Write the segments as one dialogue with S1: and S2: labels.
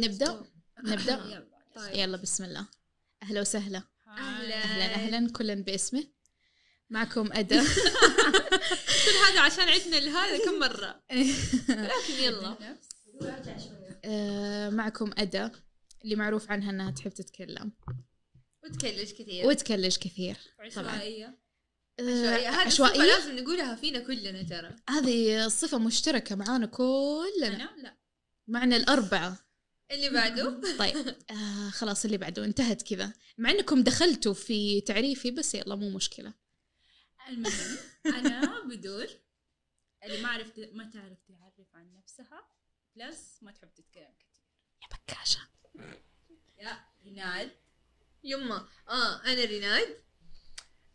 S1: نبدأ؟ نبدأ؟
S2: يلا إيه، طيب
S1: يلا بسم الله أهلا وسهلا
S2: أهلا.
S1: أهلا أهلا كلا باسمه معكم أدا
S2: كل هذا عشان عدنا لهذا كم مرة لكن يلا
S1: آه، معكم أدا اللي معروف عنها أنها تحب تتكلم
S2: وتكلج كثير
S1: وتكلج كثير
S2: عشوائية
S1: آه،
S2: عشوائية هذا الصفة
S1: عشوائية
S2: لازم نقولها فينا كلنا ترى
S1: هذه صفة مشتركة معانا كلنا
S2: أنا لا
S1: معنا الأربعة
S2: اللي بعده
S1: طيب آه خلاص اللي بعده انتهت كذا مع أنكم دخلتوا في تعريفي بس يلا مو مشكلة
S3: المهم انا بدور اللي ما عرفت ما تعرف تعرف عن نفسها بلس ما تحب تتكلم كثير
S1: يا بكاشة
S3: يا ريناد
S2: يما اه انا ريناد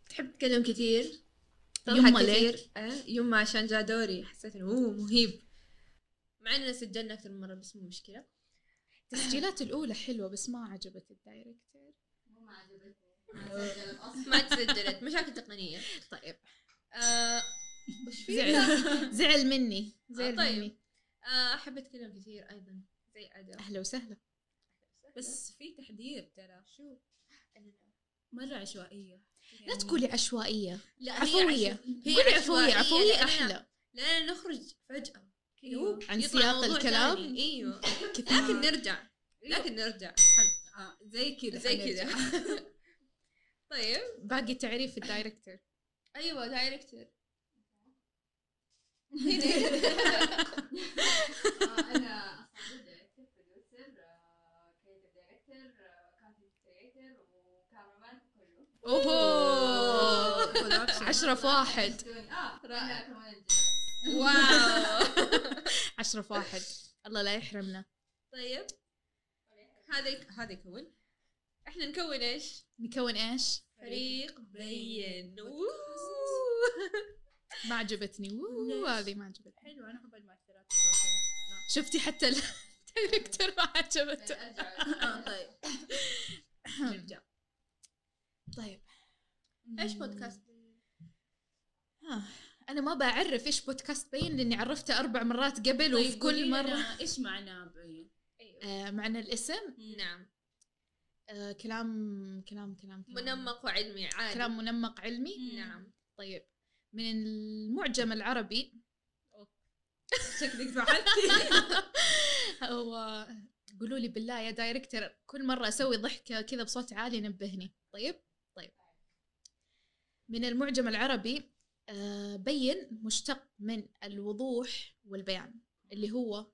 S2: تحب تتكلم كثير تضحك
S1: يما ليه؟
S2: كثير آه يما عشان جاء دوري حسيت انه اوه مهيب مع اننا سجلنا اكثر من مره بس مو مشكله
S1: التسجيلات الأولى حلوة بس ما عجبت الدايركتور
S3: ما عجبتني
S2: ما تسجلت مشاكل تقنيه
S1: طيب
S2: آه وش في؟
S1: زعل زعل مني
S2: آه،
S1: زعل
S2: طيب.
S1: مني
S2: آه، احب اتكلم كثير ايضا زي ادى
S1: اهلا وسهلا
S3: بس في تحذير ترى شو مره عشوائيه
S1: لا تقولي عشوائيه
S2: لا
S1: عفويه
S2: يعني هي
S1: قولي عفويه عفويه
S2: لأننا-
S1: احلى
S2: لأننا نخرج فجأة
S3: أيوه.
S1: عن
S2: يطلع
S1: سياق
S2: موضوع
S1: الكلام؟
S2: تاني. ايوه
S1: كثير
S2: لكن نرجع لكن نرجع
S3: آه، زي كذا
S2: أيوه. زي
S3: حنرجع.
S2: كذا طيب
S1: باقي تعريف الدايركتور
S2: ايوه دايركتور آه،
S4: انا اصلا دايركتور بروديوسر
S2: آه،
S4: كريتيف دايركتور كونتنت كريتور وكاميرمان كله
S1: اوه
S3: Production.
S1: عشرة في واحد
S4: اه
S2: آه،
S4: رائع كمان
S2: واو
S1: عشرة في واحد الله لا يحرمنا
S2: طيب هذا يك- هذا يكون احنا نكون ايش؟
S1: نكون ايش؟
S2: فريق بين أوه.
S1: ما عجبتني أوه، هذه ما عجبتني
S3: حلو انا احب المؤثرات الصوتيه لا.
S1: شفتي حتى الدايركتور ما عجبته
S2: آه، طيب
S3: نرجع
S1: طيب
S2: ايش بودكاست؟
S1: ها. انا ما بعرف ايش بودكاست بين لاني عرفته اربع مرات قبل وفي
S3: طيب، قولي
S1: كل
S3: لنا
S1: مره
S3: ايش معناه بعين
S1: آه، معنى الاسم
S2: أيوة. نعم
S1: آه، كلام كلام كلام كلام-
S2: منمق وعلمي عادي
S1: كلام منمق علمي
S2: نعم
S1: طيب من المعجم العربي
S3: شكلك فعلتي
S1: هو قولوا لي بالله يا دايركتور كل مرة أسوي ضحكة كذا بصوت عالي نبهني طيب طيب من المعجم العربي آه، بين مشتق من الوضوح والبيان اللي هو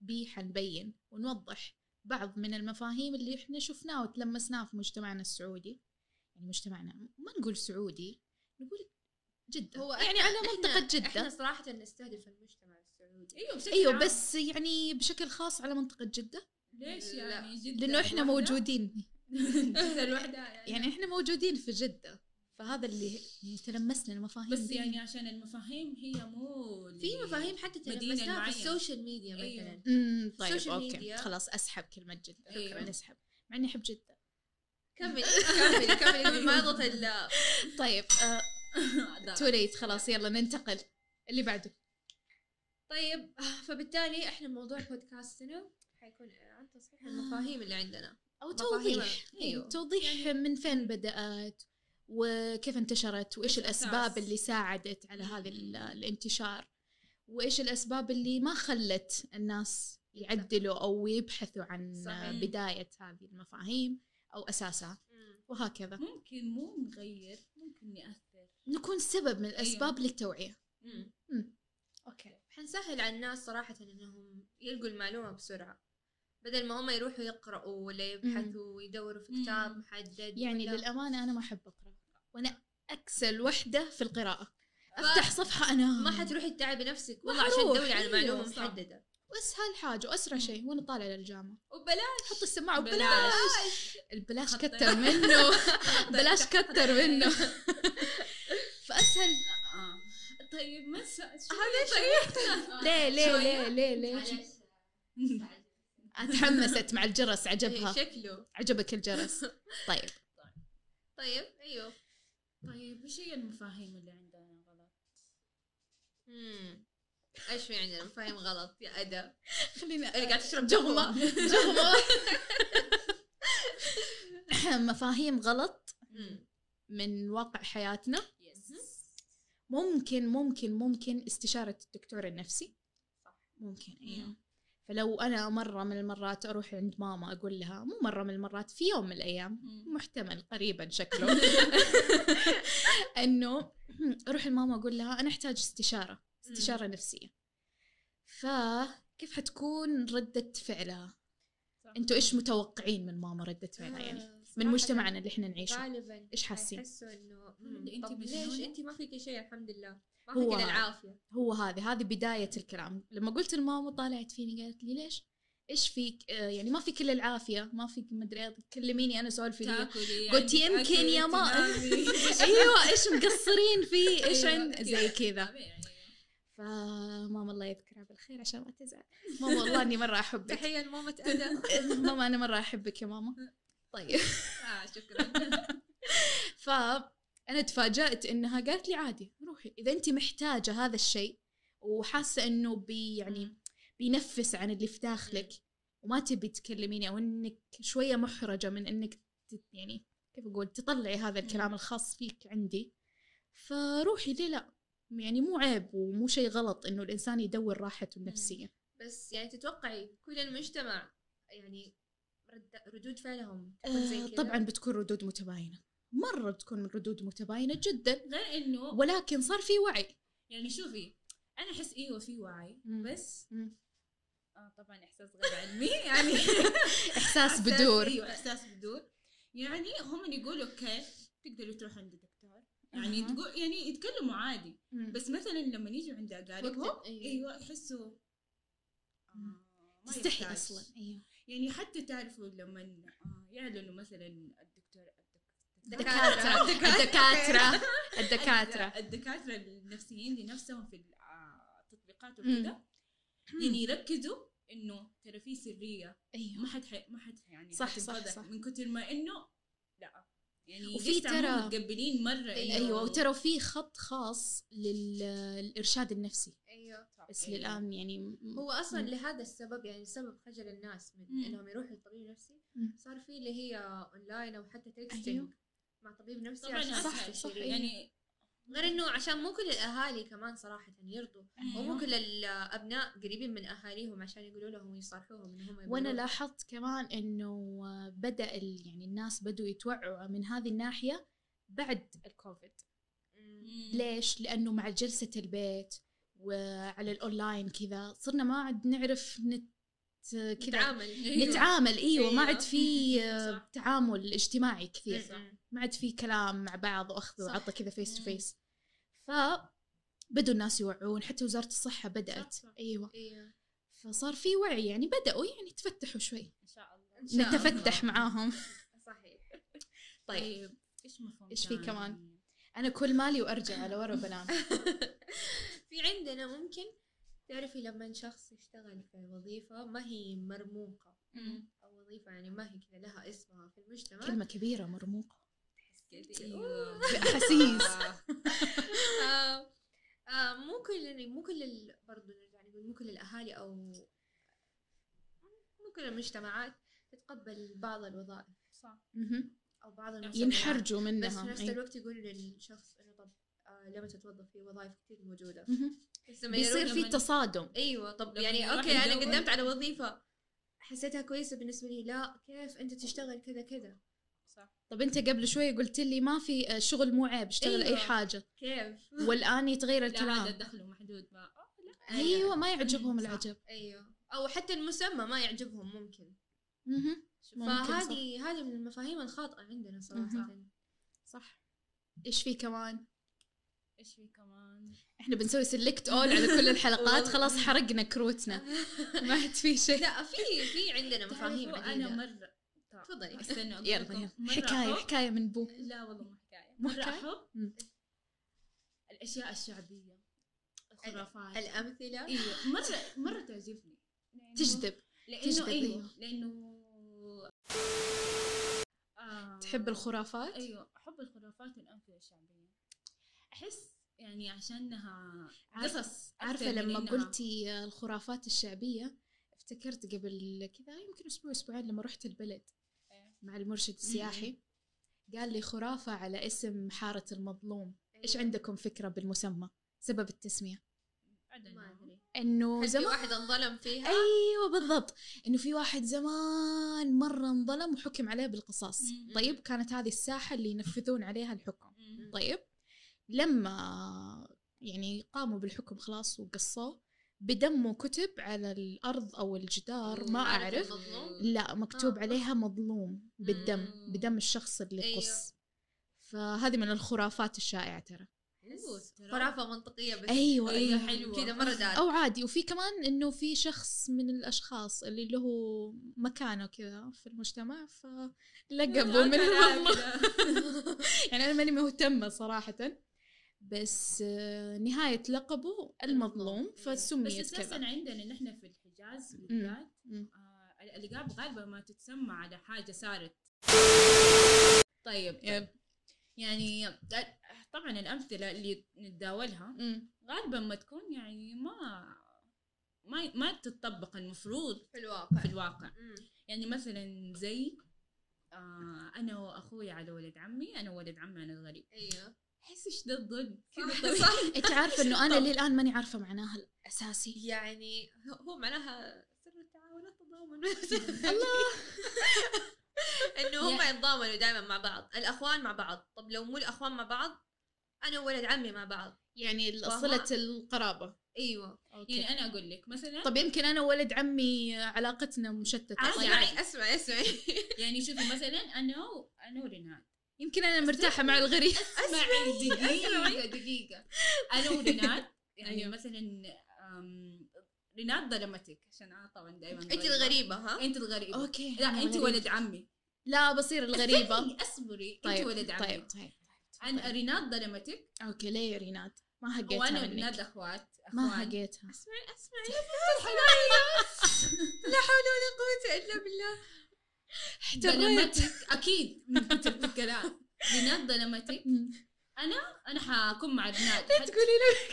S1: بي حنبين ونوضح بعض من المفاهيم اللي احنا شفناه وتلمسناه في مجتمعنا السعودي يعني مجتمعنا ما نقول سعودي نقول جدة هو يعني على منطقة
S2: احنا, احنا
S1: جدة
S2: صراحة نستهدف المجتمع السعودي
S3: ايوه بشكل
S1: ايوه
S3: عام.
S1: بس يعني بشكل خاص على منطقة جدة
S3: ليش
S2: لا.
S3: يعني جدا
S1: لانه احنا
S3: لوحدها؟
S1: موجودين
S3: جدا لوحدها يعني
S1: يعني احنا موجودين في جده فهذا اللي تلمسنا المفاهيم
S3: بس
S1: دي.
S3: يعني عشان المفاهيم هي مو
S2: في مفاهيم حتى
S3: مدينة
S2: تلمسناها في
S3: معينة.
S2: السوشيال ميديا
S3: أيوة.
S2: مثلا
S1: امم طيب
S2: السوشيال
S1: اوكي
S2: ميديا.
S1: خلاص اسحب كلمه جده
S3: أيوة.
S1: نسحب مع اني احب جده
S2: كملي كملي كملي ما يضغط ال
S1: طيب تو ليت خلاص يلا ننتقل اللي بعده
S2: طيب آه، فبالتالي احنا موضوع بودكاستنا حيكون عن تصحيح المفاهيم اللي عندنا
S1: او
S2: مفاهيم.
S1: توضيح
S2: أيوة.
S1: أيوة. توضيح من فين بدات وكيف انتشرت وايش
S3: الأساس؟
S1: الاسباب اللي ساعدت على هذا ال- الانتشار وايش الاسباب اللي ما خلت الناس يعدلوا او يبحثوا عن
S2: صحيح.
S1: بدايه هذه المفاهيم او اساسها وهكذا
S3: ممكن مو نغير ممكن آه، نأثر
S1: نكون سبب من الاسباب أيوة. للتوعيه
S2: مم.
S1: اوكي
S2: حنسهل على الناس صراحة انهم يلقوا المعلومة بسرعة بدل ما هم يروحوا يقرأوا ولا يبحثوا ويدوروا في
S3: مم.
S2: كتاب محدد
S1: يعني
S2: ولا-
S1: للامانه انا ما احب اقرا وانا اكسل وحده في القراءه افتح صفحه انا
S2: ما حتروحي تتعبي نفسك والله عشان
S1: معروف،
S2: تدوري على
S1: أيوة،
S2: معلومة
S3: صح.
S2: محددة
S1: واسهل حاجه واسرع شيء وانا طالعه للجامعه
S2: وبلاش
S1: حط السماعه وبلاش
S3: بلاش
S1: البلاش
S3: خطيت.
S1: كتر منه بلاش كتر منه فاسهل
S3: آه. طيب ما
S2: هذا شيء
S1: ليه ليه ليه
S3: شوية.
S1: ليه ليه
S4: معلش
S1: اتحمست مع الجرس عجبها
S2: شكله
S1: عجبك الجرس طيب
S2: طيب ايوه
S3: طيب وش هي المفاهيم اللي عندنا غلط؟
S2: مم. ايش في عندنا فاهم غلط يا ادا
S1: خلينا
S2: اللي قاعد تشرب جوما
S1: مفاهيم غلط من واقع حياتنا
S3: يس
S1: ممكن ممكن ممكن استشارة الدكتور النفسي ممكن ايوه
S3: مم.
S1: فلو انا مرة من المرات اروح عند ماما اقول لها مو مرة من المرات في يوم من الايام محتمل قريبا شكله انه اروح لماما اقول لها انا احتاج استشاره استشاره نفسيه فكيف حتكون رده فعلها انتوا
S2: آه،
S1: ايش متوقعين من ماما رده فعلها يعني من مجتمعنا اللي احنا نعيشه
S2: غالبا
S1: إيش حاسين؟
S2: يحسوا انه
S3: مم،
S2: انت
S3: أنت
S2: طب ليش
S3: مجنونة؟
S2: انت ما فيك شيء الحمد لله ما
S1: هو-
S2: فيك الا العافيه
S1: هو هذه هذه بدايه الكلام لما قلت لماما طالعت فيني قالت لي ليش ايش فيك آه، يعني ما فيك الا العافيه ما فيك مدري إيه، كلميني انا سؤال في
S3: تاكلي
S1: قلت
S3: عندك
S1: يمكن
S3: أكل،
S1: يا ما.
S3: تنامي.
S1: ايوه ايش مقصرين فيه ايش
S3: أيوة،
S1: عند زي كذا
S3: طبيعي. يعني.
S1: فماما الله يذكرها بالخير عشان ما تزعل ماما والله اني مره احبك
S2: تحيه لماما ادا
S1: ماما انا مره احبك يا ماما طيب
S3: اه شكرا
S1: فانا تفاجات انها قالت لي عادي روحي اذا انت محتاجه هذا الشيء وحاسه انه بي يعني بينفس عن اللي في داخلك وما تبي تكلميني او انك شويه محرجه من انك ت- يعني كيف اقول تطلعي هذا الكلام الخاص فيك عندي فروحي ليه لا يعني مو عيب ومو شيء غلط انه الانسان يدور راحته النفسيه
S2: بس يعني تتوقعي كل المجتمع يعني رد ردود فعلهم تكون زي
S1: آه،
S2: كذا
S1: طبعا بتكون ردود متباينه مره بتكون ردود متباينه جدا
S3: غير انه
S1: ولكن صار في وعي
S3: يعني شوفي انا احس ايوه في وعي
S1: مم.
S3: بس
S1: مم.
S3: آه طبعا احساس غير علمي يعني
S1: احساس
S3: إحساس-
S1: بدور
S3: ايوه احساس بدور يعني هم يقولوا اوكي تقدروا تروحوا عند دكتور يعني
S1: أها.
S3: تقول يعني يتكلموا عادي
S1: مم.
S3: بس مثلا لما يجوا عند اقاربهم
S2: وقت-
S1: إيوه.
S2: أيوة.
S3: ايوه يحسوا آه، ما
S1: تستحي
S3: يحتاج.
S1: اصلا ايوه
S3: يعني حتى تعرفوا لما آه، يعلنوا مثلا الدكتور
S1: الدكاتره الدكاتره الدكاتره
S3: الدكاتره النفسيين لنفسهم في الع- التطبيقات
S1: مم.
S3: وكذا يعني يركزوا انه ترى في سريه
S1: ايوه
S3: ما حد حي... ما حد يعني
S1: صح،
S3: حتنفضح
S1: صح، صح.
S3: من كثر ما انه لا يعني
S1: وفي
S3: وفي
S1: ترى-
S3: ترى متقبلين مره
S1: ايوه وترى في خط خاص للارشاد النفسي
S2: ايوه
S1: بس
S3: أيوة.
S1: للان يعني م-
S2: هو اصلا
S1: مم.
S2: لهذا السبب يعني سبب خجل الناس من
S3: مم.
S2: انهم يروحوا لطبيب نفسي
S1: مم.
S2: صار في اللي هي اونلاين او حتى تكستنج
S1: أيوه.
S2: مع طبيب نفسي
S3: طبعا
S2: عشان
S3: صح
S1: صح،
S3: صح
S1: أيوة.
S3: يعني
S2: غير انه عشان مو كل الاهالي كمان صراحه يرضوا ومو
S1: أيوه.
S3: أيوة.
S2: كل الابناء قريبين من اهاليهم عشان يقولوا لهم ويصارحوهم ان هم يبغوا
S1: وانا
S2: يروحوا.
S1: لاحظت كمان انه بدا ال- يعني الناس بدوا يتوعوا من هذه الناحيه بعد الكوفيد
S2: مم.
S3: مم.
S1: ليش؟ لأنه مع جلسة البيت وعلى الأونلاين كذا صرنا ما عاد نعرف نت كذا
S2: نتعامل
S3: أيوة.
S1: نتعامل ايوه
S2: أيوة.
S1: ما عاد في
S3: صح.
S1: آه، تعامل اجتماعي كثير
S3: صح.
S2: مم.
S1: ما عاد في كلام مع بعض واخذ
S3: صح.
S1: وعطى كذا فيس تو
S3: مم.
S1: فيس فبدوا الناس يوعون حتى وزارة الصحة بدأت
S3: صح.
S1: ايوه
S2: ايوه
S1: فصار في وعي يعني بدأوا يعني تفتحوا شوي
S3: ان شاء الله
S2: إن شاء
S1: نتفتح معاهم
S2: صحيح أيوة.
S1: طيب
S3: ايش مفهوم
S1: إيش في
S3: ثاني؟
S1: كمان؟ انا كل مالي وارجع على ورا بنام
S2: في عندنا ممكن تعرفي لما شخص يشتغل في وظيفة ما هي مرموقة
S3: مم.
S2: أو وظيفة يعني ما هي كذا لها اسمها في المجتمع
S1: كلمة كبيرة مرموقة
S3: أيوة.
S1: أحاسيس
S3: آه.
S2: آه آه مو كل يعني مو كل ال- برضو نرجع نقول مو كل الأهالي أو مو كل المجتمعات تتقبل بعض الوظائف
S3: صح
S1: مهم.
S2: أو بعض المسميات.
S1: ينحرجوا
S2: بس
S1: منها أيوة.
S2: في نفس
S1: أي.
S2: الوقت يقول للشخص إنه طب آه لما تتوظف في وظائف كثير موجودة
S1: مهم.
S2: بس لما يروح
S1: بيصير في
S3: لما-
S1: تصادم
S2: ايوه طب
S3: لما
S2: يعني
S3: الواحد
S2: اوكي انا
S3: يدور-
S2: قدمت على وظيفه حسيتها كويسه بالنسبه لي لا كيف انت تشتغل كذا كذا
S3: صح
S1: طب انت قبل شوي قلت لي ما في آه، شغل مو عيب اشتغل اي
S2: أيوة.
S1: حاجه
S2: كيف
S1: والان يتغير
S3: لا هذا
S1: الكلام
S3: دخله محدود ما آه، لا
S1: ايوه ما يعجبهم
S3: صح.
S1: العجب
S2: ايوه او حتى المسمى ما يعجبهم ممكن
S1: مهم. ممكن،
S2: فهذه هذه من المفاهيم الخاطئه عندنا صراحه
S3: مهم.
S1: صح ايش في كمان
S3: ايش في كمان
S1: احنا بنسوي سلكت اول على كل الحلقات
S2: والله.
S1: خلاص حرقنا كروتنا ما عاد في شيء
S2: لا في في عندنا مفاهيم
S3: تعرفوا انا
S2: عديده
S3: مره طب،
S2: تفضلي.
S3: استنى أقول
S1: يلا
S3: لكم.
S1: يلا
S3: مرة
S1: حكايه
S3: أحب-
S1: حكايه من بو
S3: لا والله مو حكايه
S1: مو
S3: مره
S1: حكاية؟
S3: احب
S1: مم.
S3: الاشياء الشعبيه الخرافات
S2: الامثله
S1: إيه،
S3: ايوه مره مره تعجبني لأنه-
S1: تجذب تجذب،
S3: لانه ايوه
S1: أيوة.
S3: لانه آه،
S1: تحب الخرافات
S3: أيوة. ايوه احب الخرافات والامثله الشعبيه احس يعني عشانها
S1: عارفة-
S3: قصص
S1: عارفة
S3: أكثر من
S1: لما
S3: إنها-
S1: قلتي الخرافات الشعبية افتكرت قبل كذا يمكن أسبوع أسبوعين لما رحت البلد
S3: إيه.
S1: مع المرشد السياحي قال لي خرافة على اسم حارة المظلوم إيش عندكم فكرة بالمسمى سبب التسمية
S3: I don't
S2: ما
S3: know.
S2: ادري
S1: إنه
S2: هل في
S1: زمان
S2: واحد انظلم فيها
S1: ايوه بالضبط انه في واحد زمان مره انظلم وحكم عليه بالقصاص
S3: مم.
S1: طيب كانت هذه الساحه اللي ينفذون عليها الحكم
S3: مم.
S1: طيب لما يعني قاموا بالحكم خلاص وقصوه بدمه كتب على الارض او الجدار ما
S2: وعارف
S1: اعرف
S2: المظلوم؟
S1: لا مكتوب
S2: آه.
S1: عليها مظلوم بالدم
S2: مم.
S1: بدم الشخص اللي
S2: أيوه.
S1: قص فهذه من الخرافات الشائعه ترى
S2: أحس
S3: ترى.
S2: خرافة منطقية بس
S1: ايوه
S3: أيوة،
S1: ايوه
S3: حلوة.
S2: كذا مرة دارك
S1: او عادي وفي كمان انه في شخص من الاشخاص اللي له مكانه كذا في المجتمع
S3: أيوة،
S1: فلقبوا من المظلوم يعني انا ماني مهتمه صراحه بس آه، نهايه لقبه المظلوم
S3: بس
S1: فسميت
S3: اساسا
S1: كذا
S3: عندنا نحن في الحجاز بالذات آه، الالقاب غالبا ما تتسمى على حاجه صارت طيب
S1: يب.
S3: يعني طبعا الامثله اللي نتداولها
S1: مم.
S3: غالبا ما تكون يعني ما ما ما تتطبق المفروض
S2: في الواقع
S3: في الواقع
S2: مم.
S3: يعني مثلا زي آه انا واخوي على ولد عمي انا ولد عمي انا الغريب
S2: ايوه
S3: احس ايش ده الضد
S2: صح صح
S1: انت عارفه انه انا للان ماني عارفه معناها الاساسي
S2: يعني هو معناها سر التعاون التضامن انه هم يتضامنوا دائما مع بعض الاخوان مع بعض طب لو مو الاخوان مع بعض انا وولد عمي مع بعض
S1: يعني صله القرابه
S2: ايوه
S3: يعني انا اقول لك مثلا
S1: طب يمكن انا وولد عمي علاقتنا مشتته طيب.
S2: اسمعي اسمعي اسمعي
S3: يعني شوفي مثلا انا و- انا وريناد
S1: يمكن انا مرتاحه مع الغريب
S3: اسمعي
S1: أيوة.
S3: دقيقه دقيقه انا وريناد يعني
S1: أيوه.
S3: مثلا أم، ريناد ظلمتك عشان انا طبعا دائما
S2: انت الغريبه ها
S3: انت الغريبه
S1: اوكي
S3: لا
S1: أنا
S3: انت
S1: غريبة.
S3: ولد عمي
S1: لا بصير الغريبه
S3: استني، اصبري انت
S1: طيب
S3: ولد عمي
S1: طيب طيب
S3: انا ريناد ظلمتك
S1: اوكي ليه يا ريناد ما
S3: وانا
S1: حقيتها
S3: وريناد
S1: منك
S3: اخوات
S1: ما
S3: اخوان
S1: حقيتها
S2: اسمعي اسمعي يا بنت الحلال لا حول ولا قوه الا بالله
S1: طيب، احترمت
S3: ظلمتك اكيد من كتر الكلام ريناد ظلمتك
S1: مم.
S3: انا حاكون مع ريناد
S1: تقولي له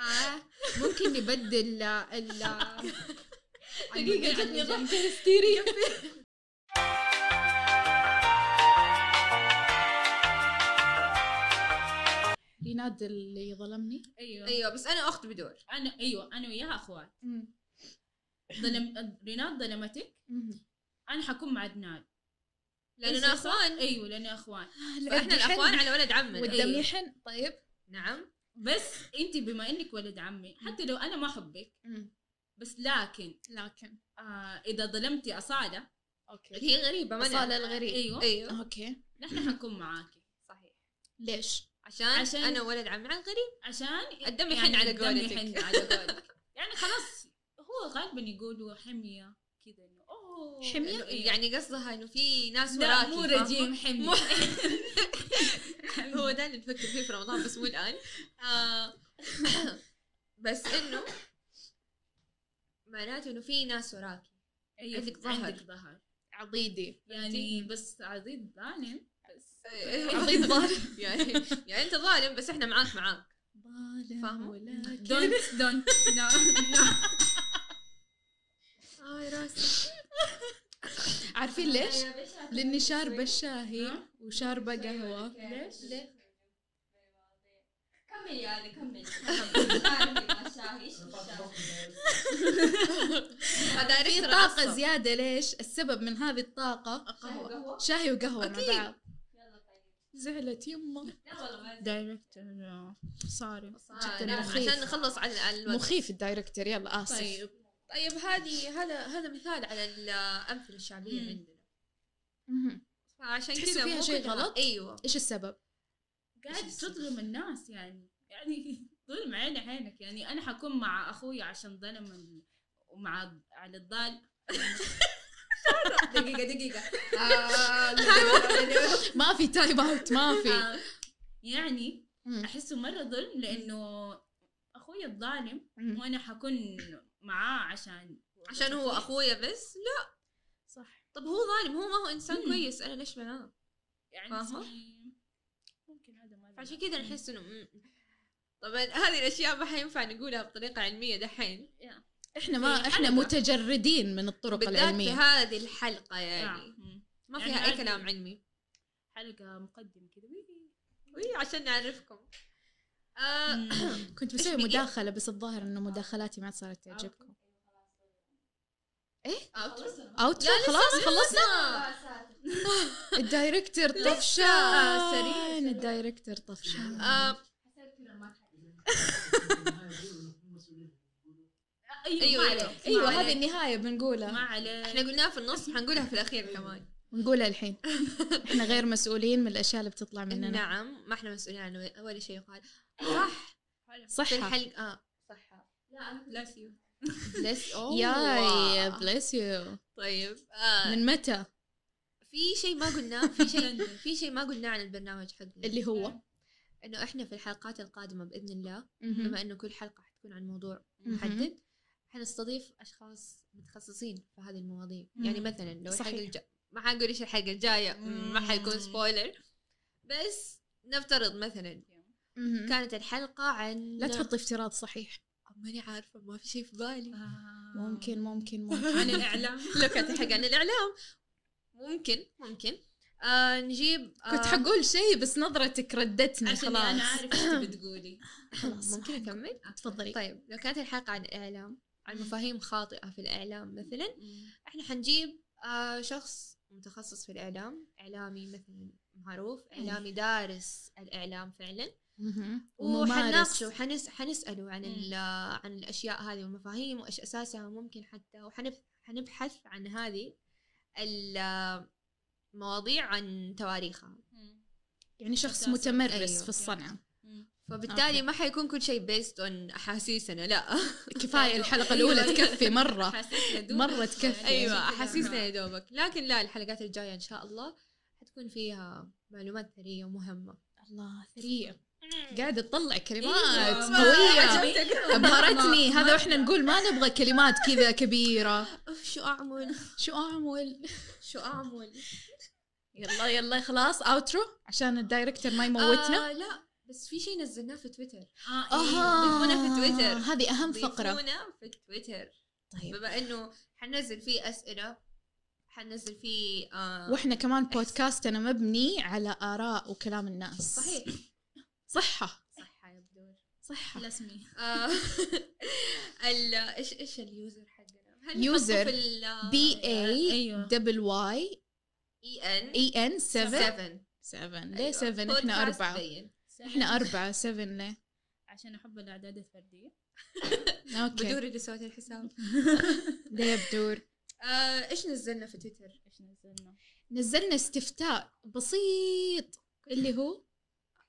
S2: آه.
S3: ممكن نبدل ال
S1: دقيقه جتني ضحكه هستيريه ريناد اللي ظلمني
S3: ايوه
S1: طيب.
S2: ايوه بس انا اخت بدور
S3: انا ايوه انا وياها اخوات ظلم ريناد ظلمتك انا حكون مع عدنان
S2: لاننا اخوان
S3: ايوه لاننا اخوان
S2: فاحنا الاخوان على ولد عمنا
S1: والدم
S3: أيوه.
S1: يحن طيب
S2: نعم
S3: بس انت بما انك ولد عمي حتى لو انا ما احبك بس لكن
S1: لكن
S3: آه اذا ظلمتي اصاله
S1: اوكي
S2: هي غريبه ما
S1: أصالة
S2: أنا-
S1: الغريب
S3: ايوه
S2: ايوه
S1: اوكي
S3: نحن حنكون معاكي
S2: صحيح
S1: ليش؟
S2: عشان,
S3: عشان-
S2: عشان انا ولد عمي عن غريب
S3: عشان
S2: الدم يحن على
S3: الدم يحن
S2: قولتك.
S3: على قولك يعني خلاص هو غالبا يقولوا حميه كذا انه اوه
S1: حمية؟
S3: إنه إيه.
S2: يعني قصدها انه في ناس
S3: لا
S2: وراكي
S3: مو
S2: فاهمة؟
S3: رجيم حميه
S2: مو- هو ده اللي نفكر فيه في رمضان بس مو الان آه بس انه معناته انه في ناس وراكي
S3: أيوة،
S2: عندك ظهر.
S3: عندك ظهر
S1: عضيدي
S3: يعني بس عزيز ظالم بس
S1: عضيد ظهر
S2: إيه. يعني يعني انت ظالم بس احنا معاك معاك
S1: ظالم ولكن
S3: دونت دونت لا لا
S1: آه،
S2: اه راسي
S1: عارفين ليش؟ لاني شاربه
S3: ها؟
S1: الشاهي وشاربه قهوه
S4: ليش؟
S1: ليش؟
S4: كملي يعني كملي كملي الشاهي ايش الشاهي؟
S2: هذا
S1: في طاقه زياده ليش؟ السبب من هذه الطاقه
S4: قهوة قهوة؟
S1: شاهي وقهوه مع
S2: أكيد.
S1: بعض
S4: يلا طيب
S1: نعم. زعلت يمه
S4: لا والله ما
S3: دايركتور صارم
S1: جدا
S2: نعم،
S1: مخيف.
S2: عشان نخلص على على الوقت.
S1: مخيف الدايركتور يلا اسف
S3: طيب
S2: طيب هذه هذا هذا مثال على الامثله الشعبيه
S3: مم.
S2: عندنا
S1: مهم.
S2: فعشان
S1: تحسوا
S2: كذا
S1: فيها
S2: مو
S1: شيء
S2: كلها-
S1: غلط؟
S2: ايوه
S1: ايش السبب؟
S3: قاعد تظلم الناس يعني يعني ظلم عين عينك يعني انا حكون مع اخوي عشان ظلم ال- ومع على الضال دقيقة دقيقة
S2: آه،
S1: ما في تايم اوت ما في
S3: آه، يعني
S1: مم.
S3: احسه مرة ظلم لانه اخوي الظالم
S1: مم.
S3: وانا حكون معاه عشان
S2: عشان هو اخويا بس لا
S1: صح
S2: طب هو ظالم هو ما هو انسان
S3: مم.
S2: كويس انا ليش معاه
S3: يعني
S2: فاهمة؟
S3: اسمي- ممكن هذا ما أدري.
S2: فعشان كذا نحس انه مم. طبعا هذه الاشياء ما حينفع نقولها بطريقه علميه دحين
S3: يا.
S1: احنا ما
S3: إيه،
S2: في
S1: احنا
S2: إيه، حلقة.
S1: متجردين من الطرق
S2: بالذات في
S1: العلميه
S2: هذه الحلقه
S3: يعني
S2: يعني
S3: مم.
S2: ما
S3: يعني
S2: فيها اي
S3: هذه-
S2: كلام علمي
S3: حلقة مقدم كذا وي.
S2: وي، عشان نعرفكم آه
S3: مم.
S1: كنت بسوي
S2: إيش آه. بقي؟
S1: مداخله بس الظاهر انه مداخلاتي ما عاد صارت تعجبكم
S2: آه،
S1: اوترو
S2: لا، لسه،
S1: خلاص
S2: لسه.
S1: خلصنا
S4: خلصنا
S1: الدايركتور طفشان
S2: سريع.
S1: الدايركتور طفشان
S2: آه
S3: ايوه
S2: أيوة،
S3: ما
S2: أيوة.
S3: عليك،
S1: ايوه
S3: ما
S1: هذه
S3: عليك،
S1: النهايه
S3: ما
S1: بنقولها
S3: عليك
S2: احنا قلناها في النص حنقولها في الاخير كمان
S1: بنقولها الحين احنا غير مسؤولين من الاشياء اللي بتطلع مننا
S2: نعم ما احنا مسؤولين عن ولا شيء يقال صح في
S1: صحة
S2: الحلقه آه. صح
S4: لا
S2: بلاس يو بلاس
S1: ياي بليس يو
S2: طيب آه.
S1: من متى
S2: في شيء ما قلناه في شيء في شيء ما قلناه عن البرنامج حقنا
S1: اللي هو
S2: انه احنا في الحلقات القادمه باذن الله
S1: مهم.
S2: بما انه كل حلقه حتكون عن موضوع
S3: مهم.
S2: محدد حنستضيف اشخاص متخصصين في هذه المواضيع
S3: مم.
S2: يعني مثلا لو الحلقه
S1: صحيح.
S2: الج... ما حنقول ايش الحلقه الجايه ما حيكون
S3: مم.
S2: سبويلر بس نفترض مثلا
S1: مهم.
S2: كانت الحلقه عن
S1: لا تحط افتراض صحيح
S2: ماني عارفه ما في شيء في بالي
S3: آه.
S1: ممكن ممكن ممكن
S3: عن الاعلام
S2: لو كانت الحلقه عن الاعلام ممكن ممكن آه نجيب آه
S1: كنت حقول شيء بس نظرتك ردتني
S3: عشان انا
S1: خلاص
S3: عارف ايش تبي تقولي
S1: خلاص
S2: ممكن اكمل
S1: تفضلي
S2: طيب لو كانت الحلقه عن الاعلام عن
S3: مم.
S2: مفاهيم خاطئه في الاعلام مثلا
S3: مم.
S2: احنا حنجيب آه شخص متخصص في الاعلام اعلامي مثلا معروف اعلامي دارس الاعلام فعلا
S1: مهم. وممارس
S2: وحنناقشه حنس حنساله عن ال- عن الاشياء هذه والمفاهيم وايش اساسها ممكن حتى وحنبحث حنبحث عن هذه المواضيع عن تواريخها
S3: مم.
S1: يعني شخص
S3: أساساً.
S1: متمرس
S2: أيوه.
S1: في الصنعة
S3: مم.
S2: فبالتالي ما حيكون كل شيء بيست اون احاسيسنا لا
S1: كفاية الحلقة الأولى
S2: أيوه.
S1: تكفي مرة
S3: حسيت أيوة. يدوب.
S1: مرة تكفي.
S2: ايوه
S3: عشان كذا
S2: احاسيسنا يا دوبك لكن لا الحلقات الجايه ان شاء الله حتكون فيها معلومات ثريه ومهمه
S1: الله ثرية قاعدة إيه. تطلع كلمات
S3: أيوة، ما-
S1: قوية
S3: عجبتك؟ آه،
S1: أبهرتني
S3: مرة.
S1: هذا وإحنا نقول ما نبغى كلمات كذا كبيرة
S2: اوف شو اعمل
S1: شو آه، أعمل
S2: شو اعمل
S1: يلا يلا خلاص أوترو عشان الدايركتور ما يموتنا
S2: آه لا بس في شيء نزلناه في تويتر
S3: آه، إيه.
S1: أها
S2: ضيفونا في تويتر.
S1: هذه أهم فقرة
S2: ضيفونا في تويتر
S1: طيب
S2: بما انه حننزل فيه اسئله حننزل فيه آه
S1: وإحنا كمان بودكاستنا مبني على آراء وكلام الناس
S2: صحيح
S1: صحة
S2: صح يا بدور
S1: صحة
S3: الاسمي
S2: آه، ال- ايش ايش اليوزر حقنا؟ هل
S1: يوزر
S2: نحطه في ال- آه،
S1: بي اي
S3: ايوه
S1: دبل واي
S2: اي ان
S1: اي ان 7
S2: 7
S1: 7
S2: أيوه.
S1: ليه 7 احنا
S2: بودكاست
S1: أربعة
S2: زين.
S1: احنا أربعة 7 ليه
S3: عشان احب الاعداد الفرديه
S1: اوكي
S2: بدور اللي سوت الحساب
S1: ليه بدور
S2: آه، ايش نزلنا في تويتر؟
S3: ايش نزلنا
S1: نزلنا استفتاء بسيط اللي هو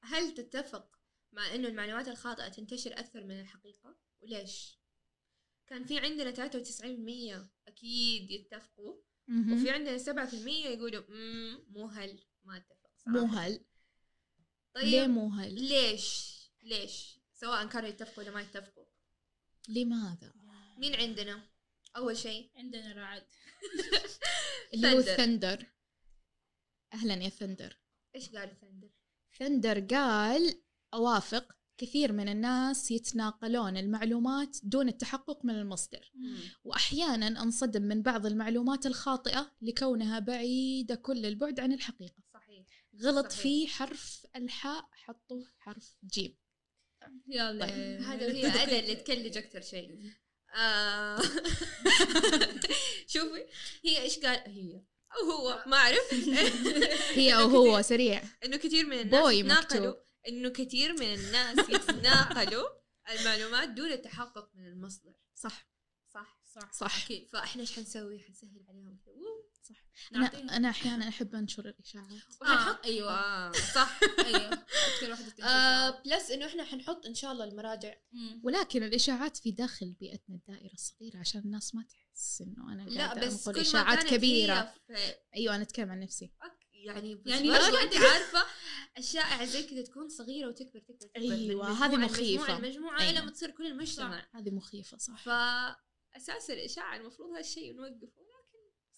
S2: هل تتفق مع انه المعلومات الخاطئه تنتشر اكثر من الحقيقه؟ وليش؟ كان في عندنا 93% اكيد يتفقوا
S1: مهم.
S2: وفي عندنا 7% يقولوا امم مو هل ما اتفق صح
S1: مو هل ليه
S2: آه. طيب
S1: مو هل
S2: ليش؟ ليش؟ سواء كانوا يتفقوا ولا ما يتفقوا
S1: لماذا
S2: مين عندنا؟ أول شيء
S3: عندنا رعد
S1: اللي هو
S2: Thunder.
S1: ثندر اهلا يا ثندر
S2: إيش قال ثندر؟
S1: ثندر قال اوافق كثير من الناس يتناقلون المعلومات دون التحقق من المصدر وأحيانا أنصدم من بعض المعلومات الخاطئة لكونها بعيدة كل البعد عن الحقيقة
S2: صحيح
S1: غلط
S2: صحيح.
S1: في حرف الحاء حطوه حرف جيم
S3: يلا
S1: طيب،
S2: هذا هي أدا اللي تكلج أكثر شيء آه. شوفي هي إيش قال هي أو هو ما أعرف
S1: هي أو هو سريع
S2: إنه كثير من الناس
S1: Boy
S2: يتناقلوا
S1: مكتوب.
S2: إنه كثير من الناس يتناقلوا المعلومات دون التحقق من المصدر
S1: صح
S2: صح
S3: صح
S1: صح.
S3: اكيد
S2: فاحنا ايش حنسوي؟ حنسهل عليهم كذا ووو.
S1: أنا
S3: نعطيهم
S1: أنا أحيانا أحب أنشر الإشاعات
S2: وحنحط
S3: آه، ايوه
S2: آه، صح
S3: ايوه كل واحده تمشي
S2: أيوة. آه، بلس انه احنا حنحط ان شاء الله المراجع
S3: مم.
S1: ولكن الإشاعات في داخل بيئتنا الدائرة الصغيرة عشان الناس ما تحس إنه أنا
S2: لا
S1: قاعدة
S2: بس
S1: أنقل
S2: كل
S1: إشاعات كبيرة
S2: في
S1: أيوة أنا أتكلم عن نفسي
S2: يعني بس
S3: يعني
S2: يعني
S3: برضو
S2: برضه انت عارفه الشائعه زي كذا تكون صغيره وتكبر تكبر تكبر من
S1: أيوة،
S2: مجموعة
S1: هذه
S2: لمجموعة
S1: مخيفة.
S2: لمجموعه
S1: أيوة.
S2: الى ما تصير كل المجتمع
S1: هذه مخيفة صح
S2: فاساس الاشاعه المفروض هالشيء نوقفه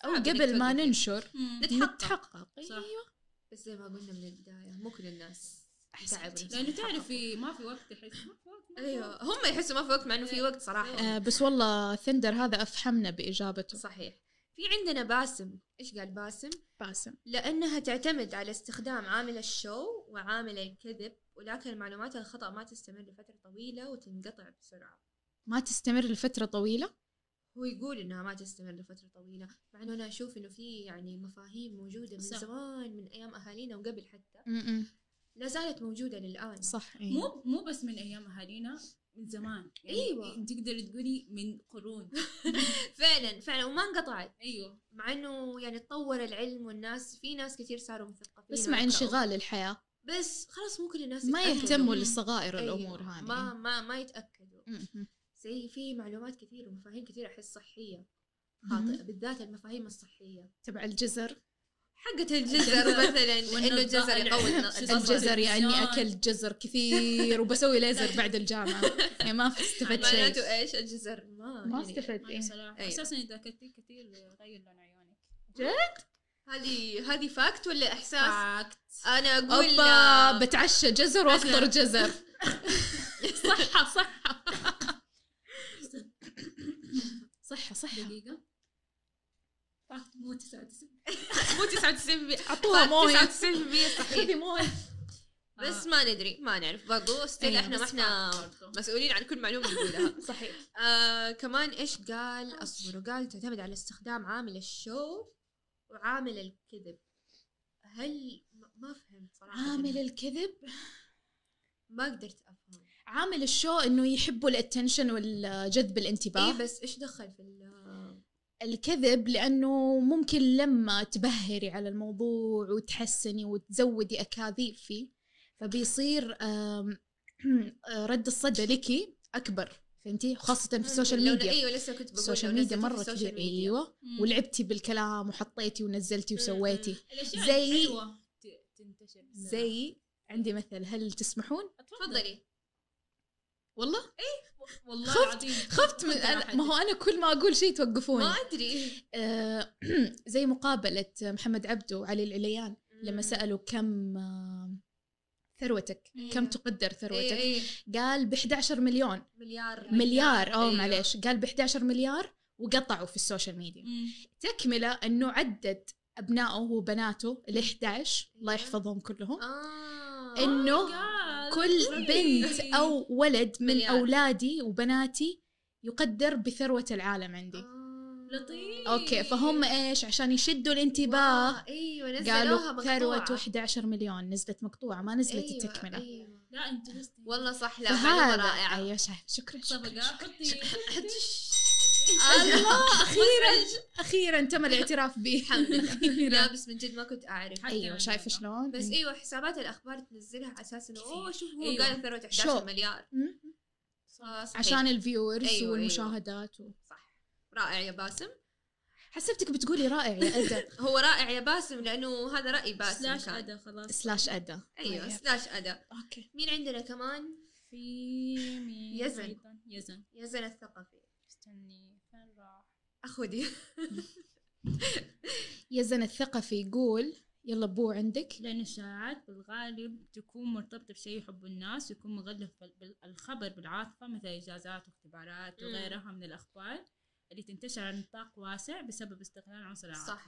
S1: او
S2: صعب إنك
S1: قبل ما
S2: توقفي.
S1: ننشر
S2: نتحقق.
S1: نتحقق
S3: صح.
S1: ايوه
S2: بس زي ما قلنا من البدايه مو كل الناس تعب
S1: أحسنتي.
S3: لانه تعرفي ما في وقت احس ما في وقت ما في
S1: أيوة.
S3: وقت.
S2: ايوه هم يحسوا ما في وقت مع انه في وقت صراحه
S1: آه، بس والله ثندر هذا افحمنا باجابته
S2: صحيح في عندنا باسم ايش قال باسم
S1: باسم
S2: لانها تعتمد على استخدام عامل الشو وعامل الكذب ولكن المعلومات الخطا ما تستمر لفتره طويله وتنقطع بسرعه
S1: ما تستمر لفتره طويله
S2: هو يقول انها ما تستمر لفتره طويله مع انه انا اشوف انه في يعني مفاهيم موجوده من
S3: صح.
S2: زمان من ايام اهالينا وقبل حتى
S1: م-م.
S2: لا زالت موجوده للان
S1: صح إيه.
S3: مو مو بس من ايام اهالينا من زمان
S2: أيوة.
S3: تقدري تقولي من قرون
S2: فعلا فعلا وما انقطعت
S3: ايوه
S2: مع انه يعني تطور العلم والناس في ناس كثير صاروا مثقفين
S1: بس مع
S2: ويقرأوا.
S1: انشغال الحياه
S2: بس خلاص مو كل الناس
S1: ما
S2: يتأكدوا.
S1: يهتموا
S3: أيوة.
S1: لصغائر
S2: أيوة.
S1: الامور هذه
S2: ما ما ما يتاكدوا
S1: م-م.
S2: زي في معلومات كثير ومفاهيم كثير احس صحيه خاطئه بالذات المفاهيم الصحيه
S1: تبع الجزر
S2: حقة الجزر مثلا انه الجزر يقوي الن-
S1: الجزر يعني
S3: الإنسان.
S1: اكلت جزر كثير وبسوي ليزر بعد الجامعه يعني ما استفدت شيء
S2: معناته ايش الجزر ما
S1: ما
S2: يعني
S1: استفدت
S3: أنا
S1: إيه.
S3: صراحه
S2: أيوة.
S3: اساسا اذا اكلتي كثير غير لون عيونك
S2: هذه هذه فاكت ولا احساس؟
S3: فاكت
S2: انا اقول
S1: اوبا بتعشى جزر وافطر جزر
S3: صحة صحة
S1: صحه صحه
S3: دقيقة فاكت مو 99
S2: مو 99%
S1: اعطوها مويه
S2: 99% صحيح
S1: خذي مويه
S2: بس ما ندري ما نعرف برضو ستيل
S1: أيوة،
S2: احنا ما
S3: بس
S2: احنا
S3: فاكت آه، برضو.
S2: مسؤولين عن كل معلومه نقولها
S1: صحيح
S2: آه كمان ايش قال اصبروا قال تعتمد على استخدام عامل الشو وعامل الكذب هل ما- ما فهمت صراحه
S1: عامل الكذب
S2: ما قدرت افهم
S1: عامل الشو انه يحبوا الاتنشن والجذب الانتباه
S2: اي إيه، بس ايش دخل في ال-
S1: الكذب لانه ممكن لما تبهري على الموضوع وتحسني وتزودي اكاذيب فيه فبيصير آم، رد الصدى لك اكبر فهمتي خاصه في السوشيال
S2: لو-
S1: ميديا
S2: ايوه لسه كنت بقول
S1: السوشيال
S2: لو
S1: ميديا
S2: نزلتي في
S1: مره
S2: السوشيال
S1: كبير
S2: ميديا.
S1: ايوه ولعبتي بالكلام وحطيتي ونزلتي وسويتي
S3: الأشياء
S1: زي-
S3: الحلوة ت- تنتشر بسرعة.
S1: زي عندي مثل هل تسمحون
S2: تفضلي
S1: والله
S3: والله
S1: خفت-
S3: العظيم
S1: خفت من أنا- ما هو انا كل ما اقول شيء توقفوني
S2: ما ادري
S1: آه، زي مقابله محمد عبده وعلي العليان لما سالوا كم آه، ثروتك
S2: إيه.
S3: مم.
S1: كم تقدر ثروتك
S2: اي اي
S1: قال ب 11 مليون
S2: إيه، مليار
S1: مليار او
S2: أيوة.
S1: معليش قال ب 11 مليار وقطعوا في السوشيال ميديا تكمله انه عدد ابنائه وبناته ال 11 الله
S2: أيوة.
S1: يحفظهم كلهم
S2: اه
S1: إنه كل بنت او ولد من
S2: مليار.
S1: اولادي وبناتي يقدر بثروه العالم عندي
S2: آه.
S3: لطيف
S1: اوكي فهم ايش عشان يشدوا الانتباه
S2: واو، ايوه نزلوها
S1: قالوا
S2: مقطوعة.
S1: ثروة 11 مليون نزلت مقطوعة ما نزلت
S2: أيوة،
S1: التكملة
S2: أيوة.
S3: لا انت بس
S2: والله صح لا معلومة
S1: فهذا
S2: رائعة
S1: ايوه شايف شكرا شكرا
S3: صفقة حطي
S2: الله اخيرا
S1: اخيرا تم الاعتراف به
S2: الحمد لله
S1: أخيراً.
S2: لا بس من جد ما كنت اعرف
S3: حتى
S1: ايوه
S3: أنا
S1: شايفه
S3: والله.
S1: شلون
S2: بس
S1: إيه.
S2: ايوه حسابات الاخبار تنزلها على اساس انه اوه شوف هو
S3: أيوة.
S2: قال ثروة
S1: شو.
S2: 11 مليار
S1: مم.
S2: صحيح.
S1: عشان الفيورز
S2: أيوة، أيوة.
S1: والمشاهدات و...
S2: صح رائع يا باسم
S1: حسبتك بتقولي رائع يا ادا
S2: هو رائع يا باسم لانه هذا راي باسم
S3: سلاش
S2: كان.
S3: أدا خلاص
S1: سلاش ادا
S2: ايوه
S1: طيب.
S2: سلاش ادا
S1: اوكي
S2: مين عندنا كمان
S3: في مين
S2: يزن.
S3: أيضاً؟ يزن
S2: يزن الثقفي
S3: استني فين راح
S2: اخو دي
S1: يزن الثقفي يقول يلا بو عندك
S3: لأن الشائعات بالغالب تكون مرتبطة بشيء يحبه الناس ويكون مغلف بال- بال- الخبر بالعاطفة مثل إجازات واختبارات
S2: مم.
S3: وغيرها من الأخبار اللي تنتشر على نطاق واسع بسبب استغلال عنصر العاطفة
S2: صح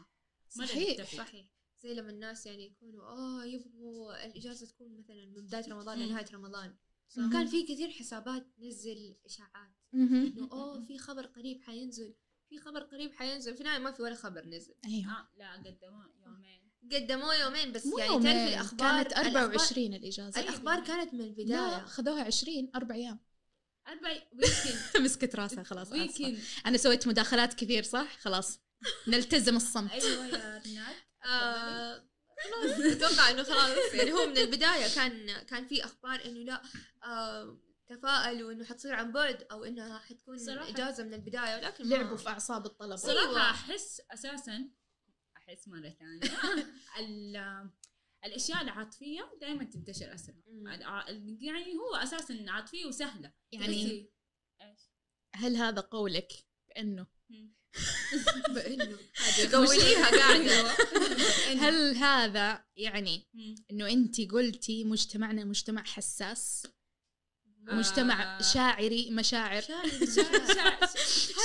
S3: مرة
S1: صحيح
S3: نتفق.
S2: صحيح زي لما الناس يعني يكونوا اه يبغوا الاجازه تكون مثلا من بدايه رمضان
S3: مم.
S2: لنهايه رمضان
S1: صح.
S2: كان في كثير حسابات تنزل اشاعات
S1: مهم.
S2: انه اوه في خبر قريب حينزل في خبر قريب حينزل في النهايه ما في ولا خبر نزل
S1: ايوه
S3: آه لا قدموه يومين
S2: قدموه يومين بس
S1: مو
S2: يعني
S1: يومين.
S2: تعرف الاخبار
S1: كانت
S2: الأخبار-
S1: 24 الاجازه
S2: الاخبار كانت من البدايه
S1: لا خذوها 20 اربع ايام
S3: أربع ويكند
S1: مسكت راسها خلاص آسفة.
S3: ويكند
S1: انا سويت مداخلات كثير صح خلاص نلتزم الصمت
S3: أيوه يا رنات
S2: آه، خلاص اتوقع انه خلاص يعني هو من البدايه كان كان في اخبار انه لا آه، تفائلوا انه حتصير عن بعد او انها حتكون
S3: صراحة.
S2: اجازه من البدايه ولكن ما-
S1: لعبوا في اعصاب الطلبه
S2: آه. صراحة. أيوة.
S3: صراحة أحس أساسا أحس مرة ثانية ال- الأشياء العاطفية دائما تنتشر أسرع
S2: مم.
S3: الع- يعني هو أساسا عاطفية وسهلة
S1: يعني
S3: بس- إيش؟
S1: هل هذا قولك بانه
S2: بانه قوليها قاعده
S1: هل هذا يعني
S3: مم.
S1: انه انت قلتي مجتمعنا مجتمع حساس مجتمع
S3: آه.
S1: شاعري مشاعر
S3: شاعر- شاعر-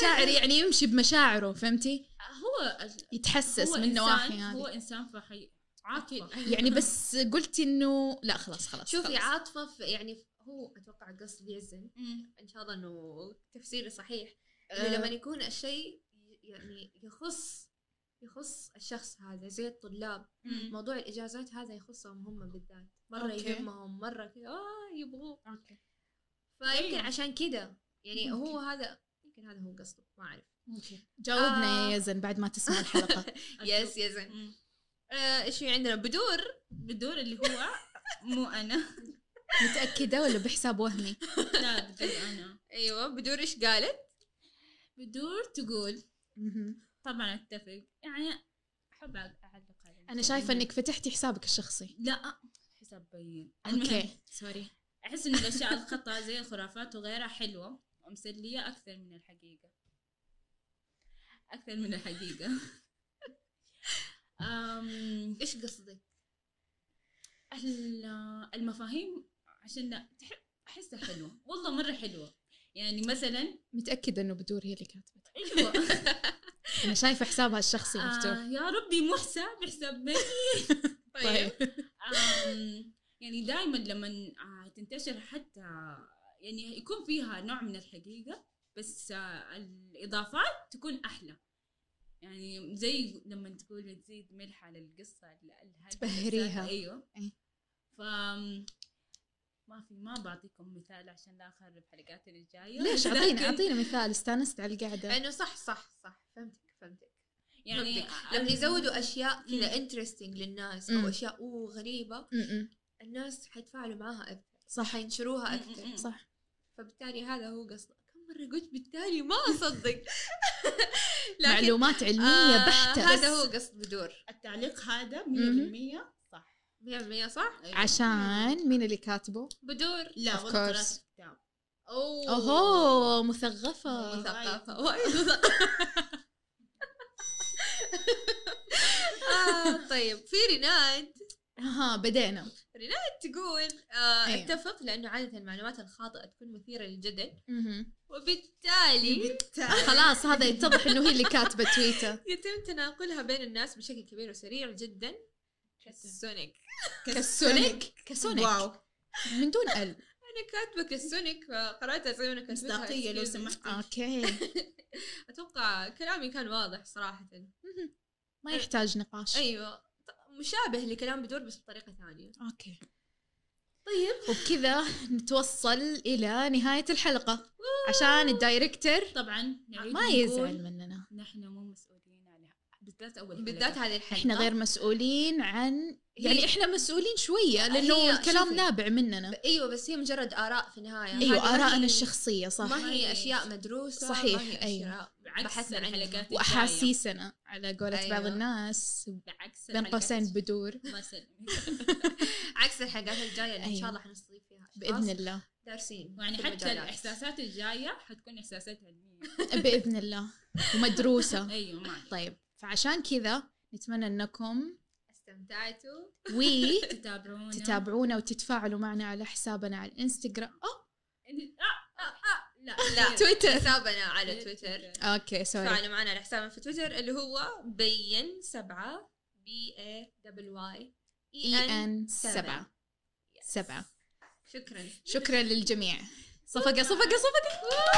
S1: شاعر يعني يمشي بمشاعره فهمتي
S3: هو
S1: يتحسس
S3: هو
S1: من
S3: إنسان-
S1: نواحي
S3: هو
S1: هذه
S3: انسان فحي
S2: أكيد.
S3: عاطفه
S1: يعني بس قلتي انه لا خلاص خلاص
S2: شوفي
S1: خلاص.
S2: عاطفه في- يعني هو اتوقع قصد يزن
S3: مم.
S2: ان شاء الله انه تفسيري صحيح
S1: آه.
S2: إنه لما يكون الشيء ي- يعني يخص يخص الشخص هذا زي الطلاب
S3: مم.
S2: موضوع الاجازات هذا يخصهم هم بالذات مره
S1: أوكي.
S2: يهمهم مره كذا
S3: آه،
S2: اه يبغوه
S1: أوكي.
S2: فيمكن
S3: أيوة.
S2: عشان كذا يعني
S1: ممكن.
S2: هو هذا يمكن هذا هو قصده ما اعرف
S1: جاوبنا
S2: آه.
S1: يا يزن بعد ما تسمع الحلقه
S2: يس يس
S3: مم.
S2: آه، ايش في عندنا بدور
S3: بدور اللي هو مو انا
S1: متاكده ولا بحساب وهمي
S3: لا بدور انا
S2: ايوه بدور ايش قالت
S3: بدور تقول
S1: مهم.
S3: طبعا اتفق يعني احب اعلق على
S1: انا شايفه انك فتحتي حسابك الشخصي
S3: يعني لا حساب بين المهم
S1: اوكي سوري
S3: احس ان الاشياء الخطا زي الخرافات وغيرها حلوه ومسليه اكثر من الحقيقه اكثر من الحقيقه أم،
S2: ايش قصدك
S3: ال- المفاهيم عشان تح- احسها حلوه والله مره حلوه يعني مثلا
S1: متاكده انه بدور هي اللي كاتبه
S3: ايوه
S1: انا شايفه حسابها الشخصي مفتوح
S3: آه يا ربي مو حساب حساب بين
S1: طيب
S3: آم، يعني دائما لما آه، تنتشر حتى يعني يكون فيها نوع من الحقيقة بس آه، الإضافات تكون أحلى يعني زي لما تقول تزيد ملح على القصة ال- الهادية
S1: تبهريها.
S3: أيوه
S1: إيه.
S3: ف ما في ما بعطيكم مثال عشان لا أخرب حلقاتنا الجاية
S1: ليش اعطينا
S3: لكن
S1: اعطينا مثال استانست على القعده
S2: لانه صح صح صح فهمتك فهمتك
S3: يعني
S2: لما يزودوا اشياء كذا
S3: مم.
S2: انترستنج للناس
S1: مم.
S2: او اشياء اوه غريبه
S1: م-م.
S2: الناس حيتفاعلوا معاها اكثر
S1: صح
S2: حينشروها
S3: مم،
S2: اكثر
S3: مم، مم.
S1: صح
S2: فبالتالي هذا هو قصدك كم مره قلت بالتالي ما اصدق لكن-
S1: معلومات علميه
S2: آه،
S1: بحته
S2: هذا هو قصد بدور
S3: التعليق هذا 100% صح
S2: 100% صح
S3: أيوة.
S1: عشان مين اللي كاتبه
S2: بدور
S3: لا
S1: Of
S3: والله
S1: course.
S3: قرأت كتاب
S2: اوه
S1: اوهو مثقفه
S2: مثقفة
S3: مثقفة.
S2: وايد مثقفة. آه، طيب في ريناد
S1: ها بدينا
S2: تقول آه،
S3: إيه.
S1: أيوة.
S2: اتفق لانه عاده المعلومات الخاطئه تكون مثيره للجدل
S1: مهم.
S3: إيه.
S1: إيه؟
S2: وبالتالي
S1: خلاص هذا يتضح انه هي اللي كاتبه تويتر
S2: يتم تناقلها بين الناس بشكل كبير وسريع جدا كالسونيك
S1: كالسونيك كسونيك
S3: واو
S1: من دون ال
S2: انا كاتبه كالسونيك فقراتها زي ما انا كاتبتها
S3: مصداقية لو
S2: Excuse me.
S3: سمحتي
S1: اوكي
S2: اتوقع كلامي كان واضح صراحه
S1: ما يحتاج نقاش
S2: ايوه ط- مشابه لكلام بدور بس بطريقه ثانيه
S1: اوكي
S2: طيب
S1: وبكذا نتوصل الى نهايه الحلقه عشان الدايركتر
S3: طبعا نعيد
S1: آه، ما
S3: ونقول
S1: يزعل مننا
S3: نحن مو مسؤولين عن بالذات اول
S2: بالذات
S3: حلقة.
S2: هذه الحلقه
S1: احنا غير مسؤولين عن طيب، آه. يعني
S2: هي-
S1: احنا مسؤولين شويه
S2: هي-
S1: لانه الكلام
S2: شوفي.
S1: نابع مننا
S2: ايوه بس هي مجرد اراء في النهايه هذه
S1: ايوه
S2: ما
S1: ارائنا
S2: هي-
S1: الشخصيه صح
S2: ما هي اشياء مدروسه
S1: صحيح،
S2: ما هي
S1: أيوة.
S2: اشياء
S3: بعكس
S2: بحثنا عنها.
S3: الحلقات الجاية.
S1: واحاسيسنا على قولة
S2: أيوة.
S1: بعض الناس
S3: بعكس
S1: بين
S3: الحلقات
S1: قوسين
S3: الج-
S1: بدور
S3: الله يسلمك.
S2: عكس الحلقات الجايه اللي ان
S1: أيوة.
S2: شاء الله حنستضيف فيها أشخاص
S1: باذن الله
S2: دارسين
S3: يعني
S2: في
S3: حتى
S2: المجالات.
S3: الاحساسات الجايه حتكون احساسات علميه
S1: باذن الله ومدروسه
S3: ايوه ما عليك.
S1: طيب فعشان كذا نتمنى انكم
S2: استمتعتوا
S3: تتابعونا
S1: وتتابعونا وتتفاعلوا معنا على حسابنا على الانستغرام أوه،
S3: إن- آه، آه، آه، لا
S2: لا
S1: تويتر
S2: حسابنا على تويتر
S1: اوكي سوري
S2: فعلوا معنا على حسابنا في تويتر اللي هو بين سبعة بي اي دبل واي E
S1: اي ان E سبعة سبعة
S2: شكرا
S1: شكرا للجميع صفقة صفقة صفقة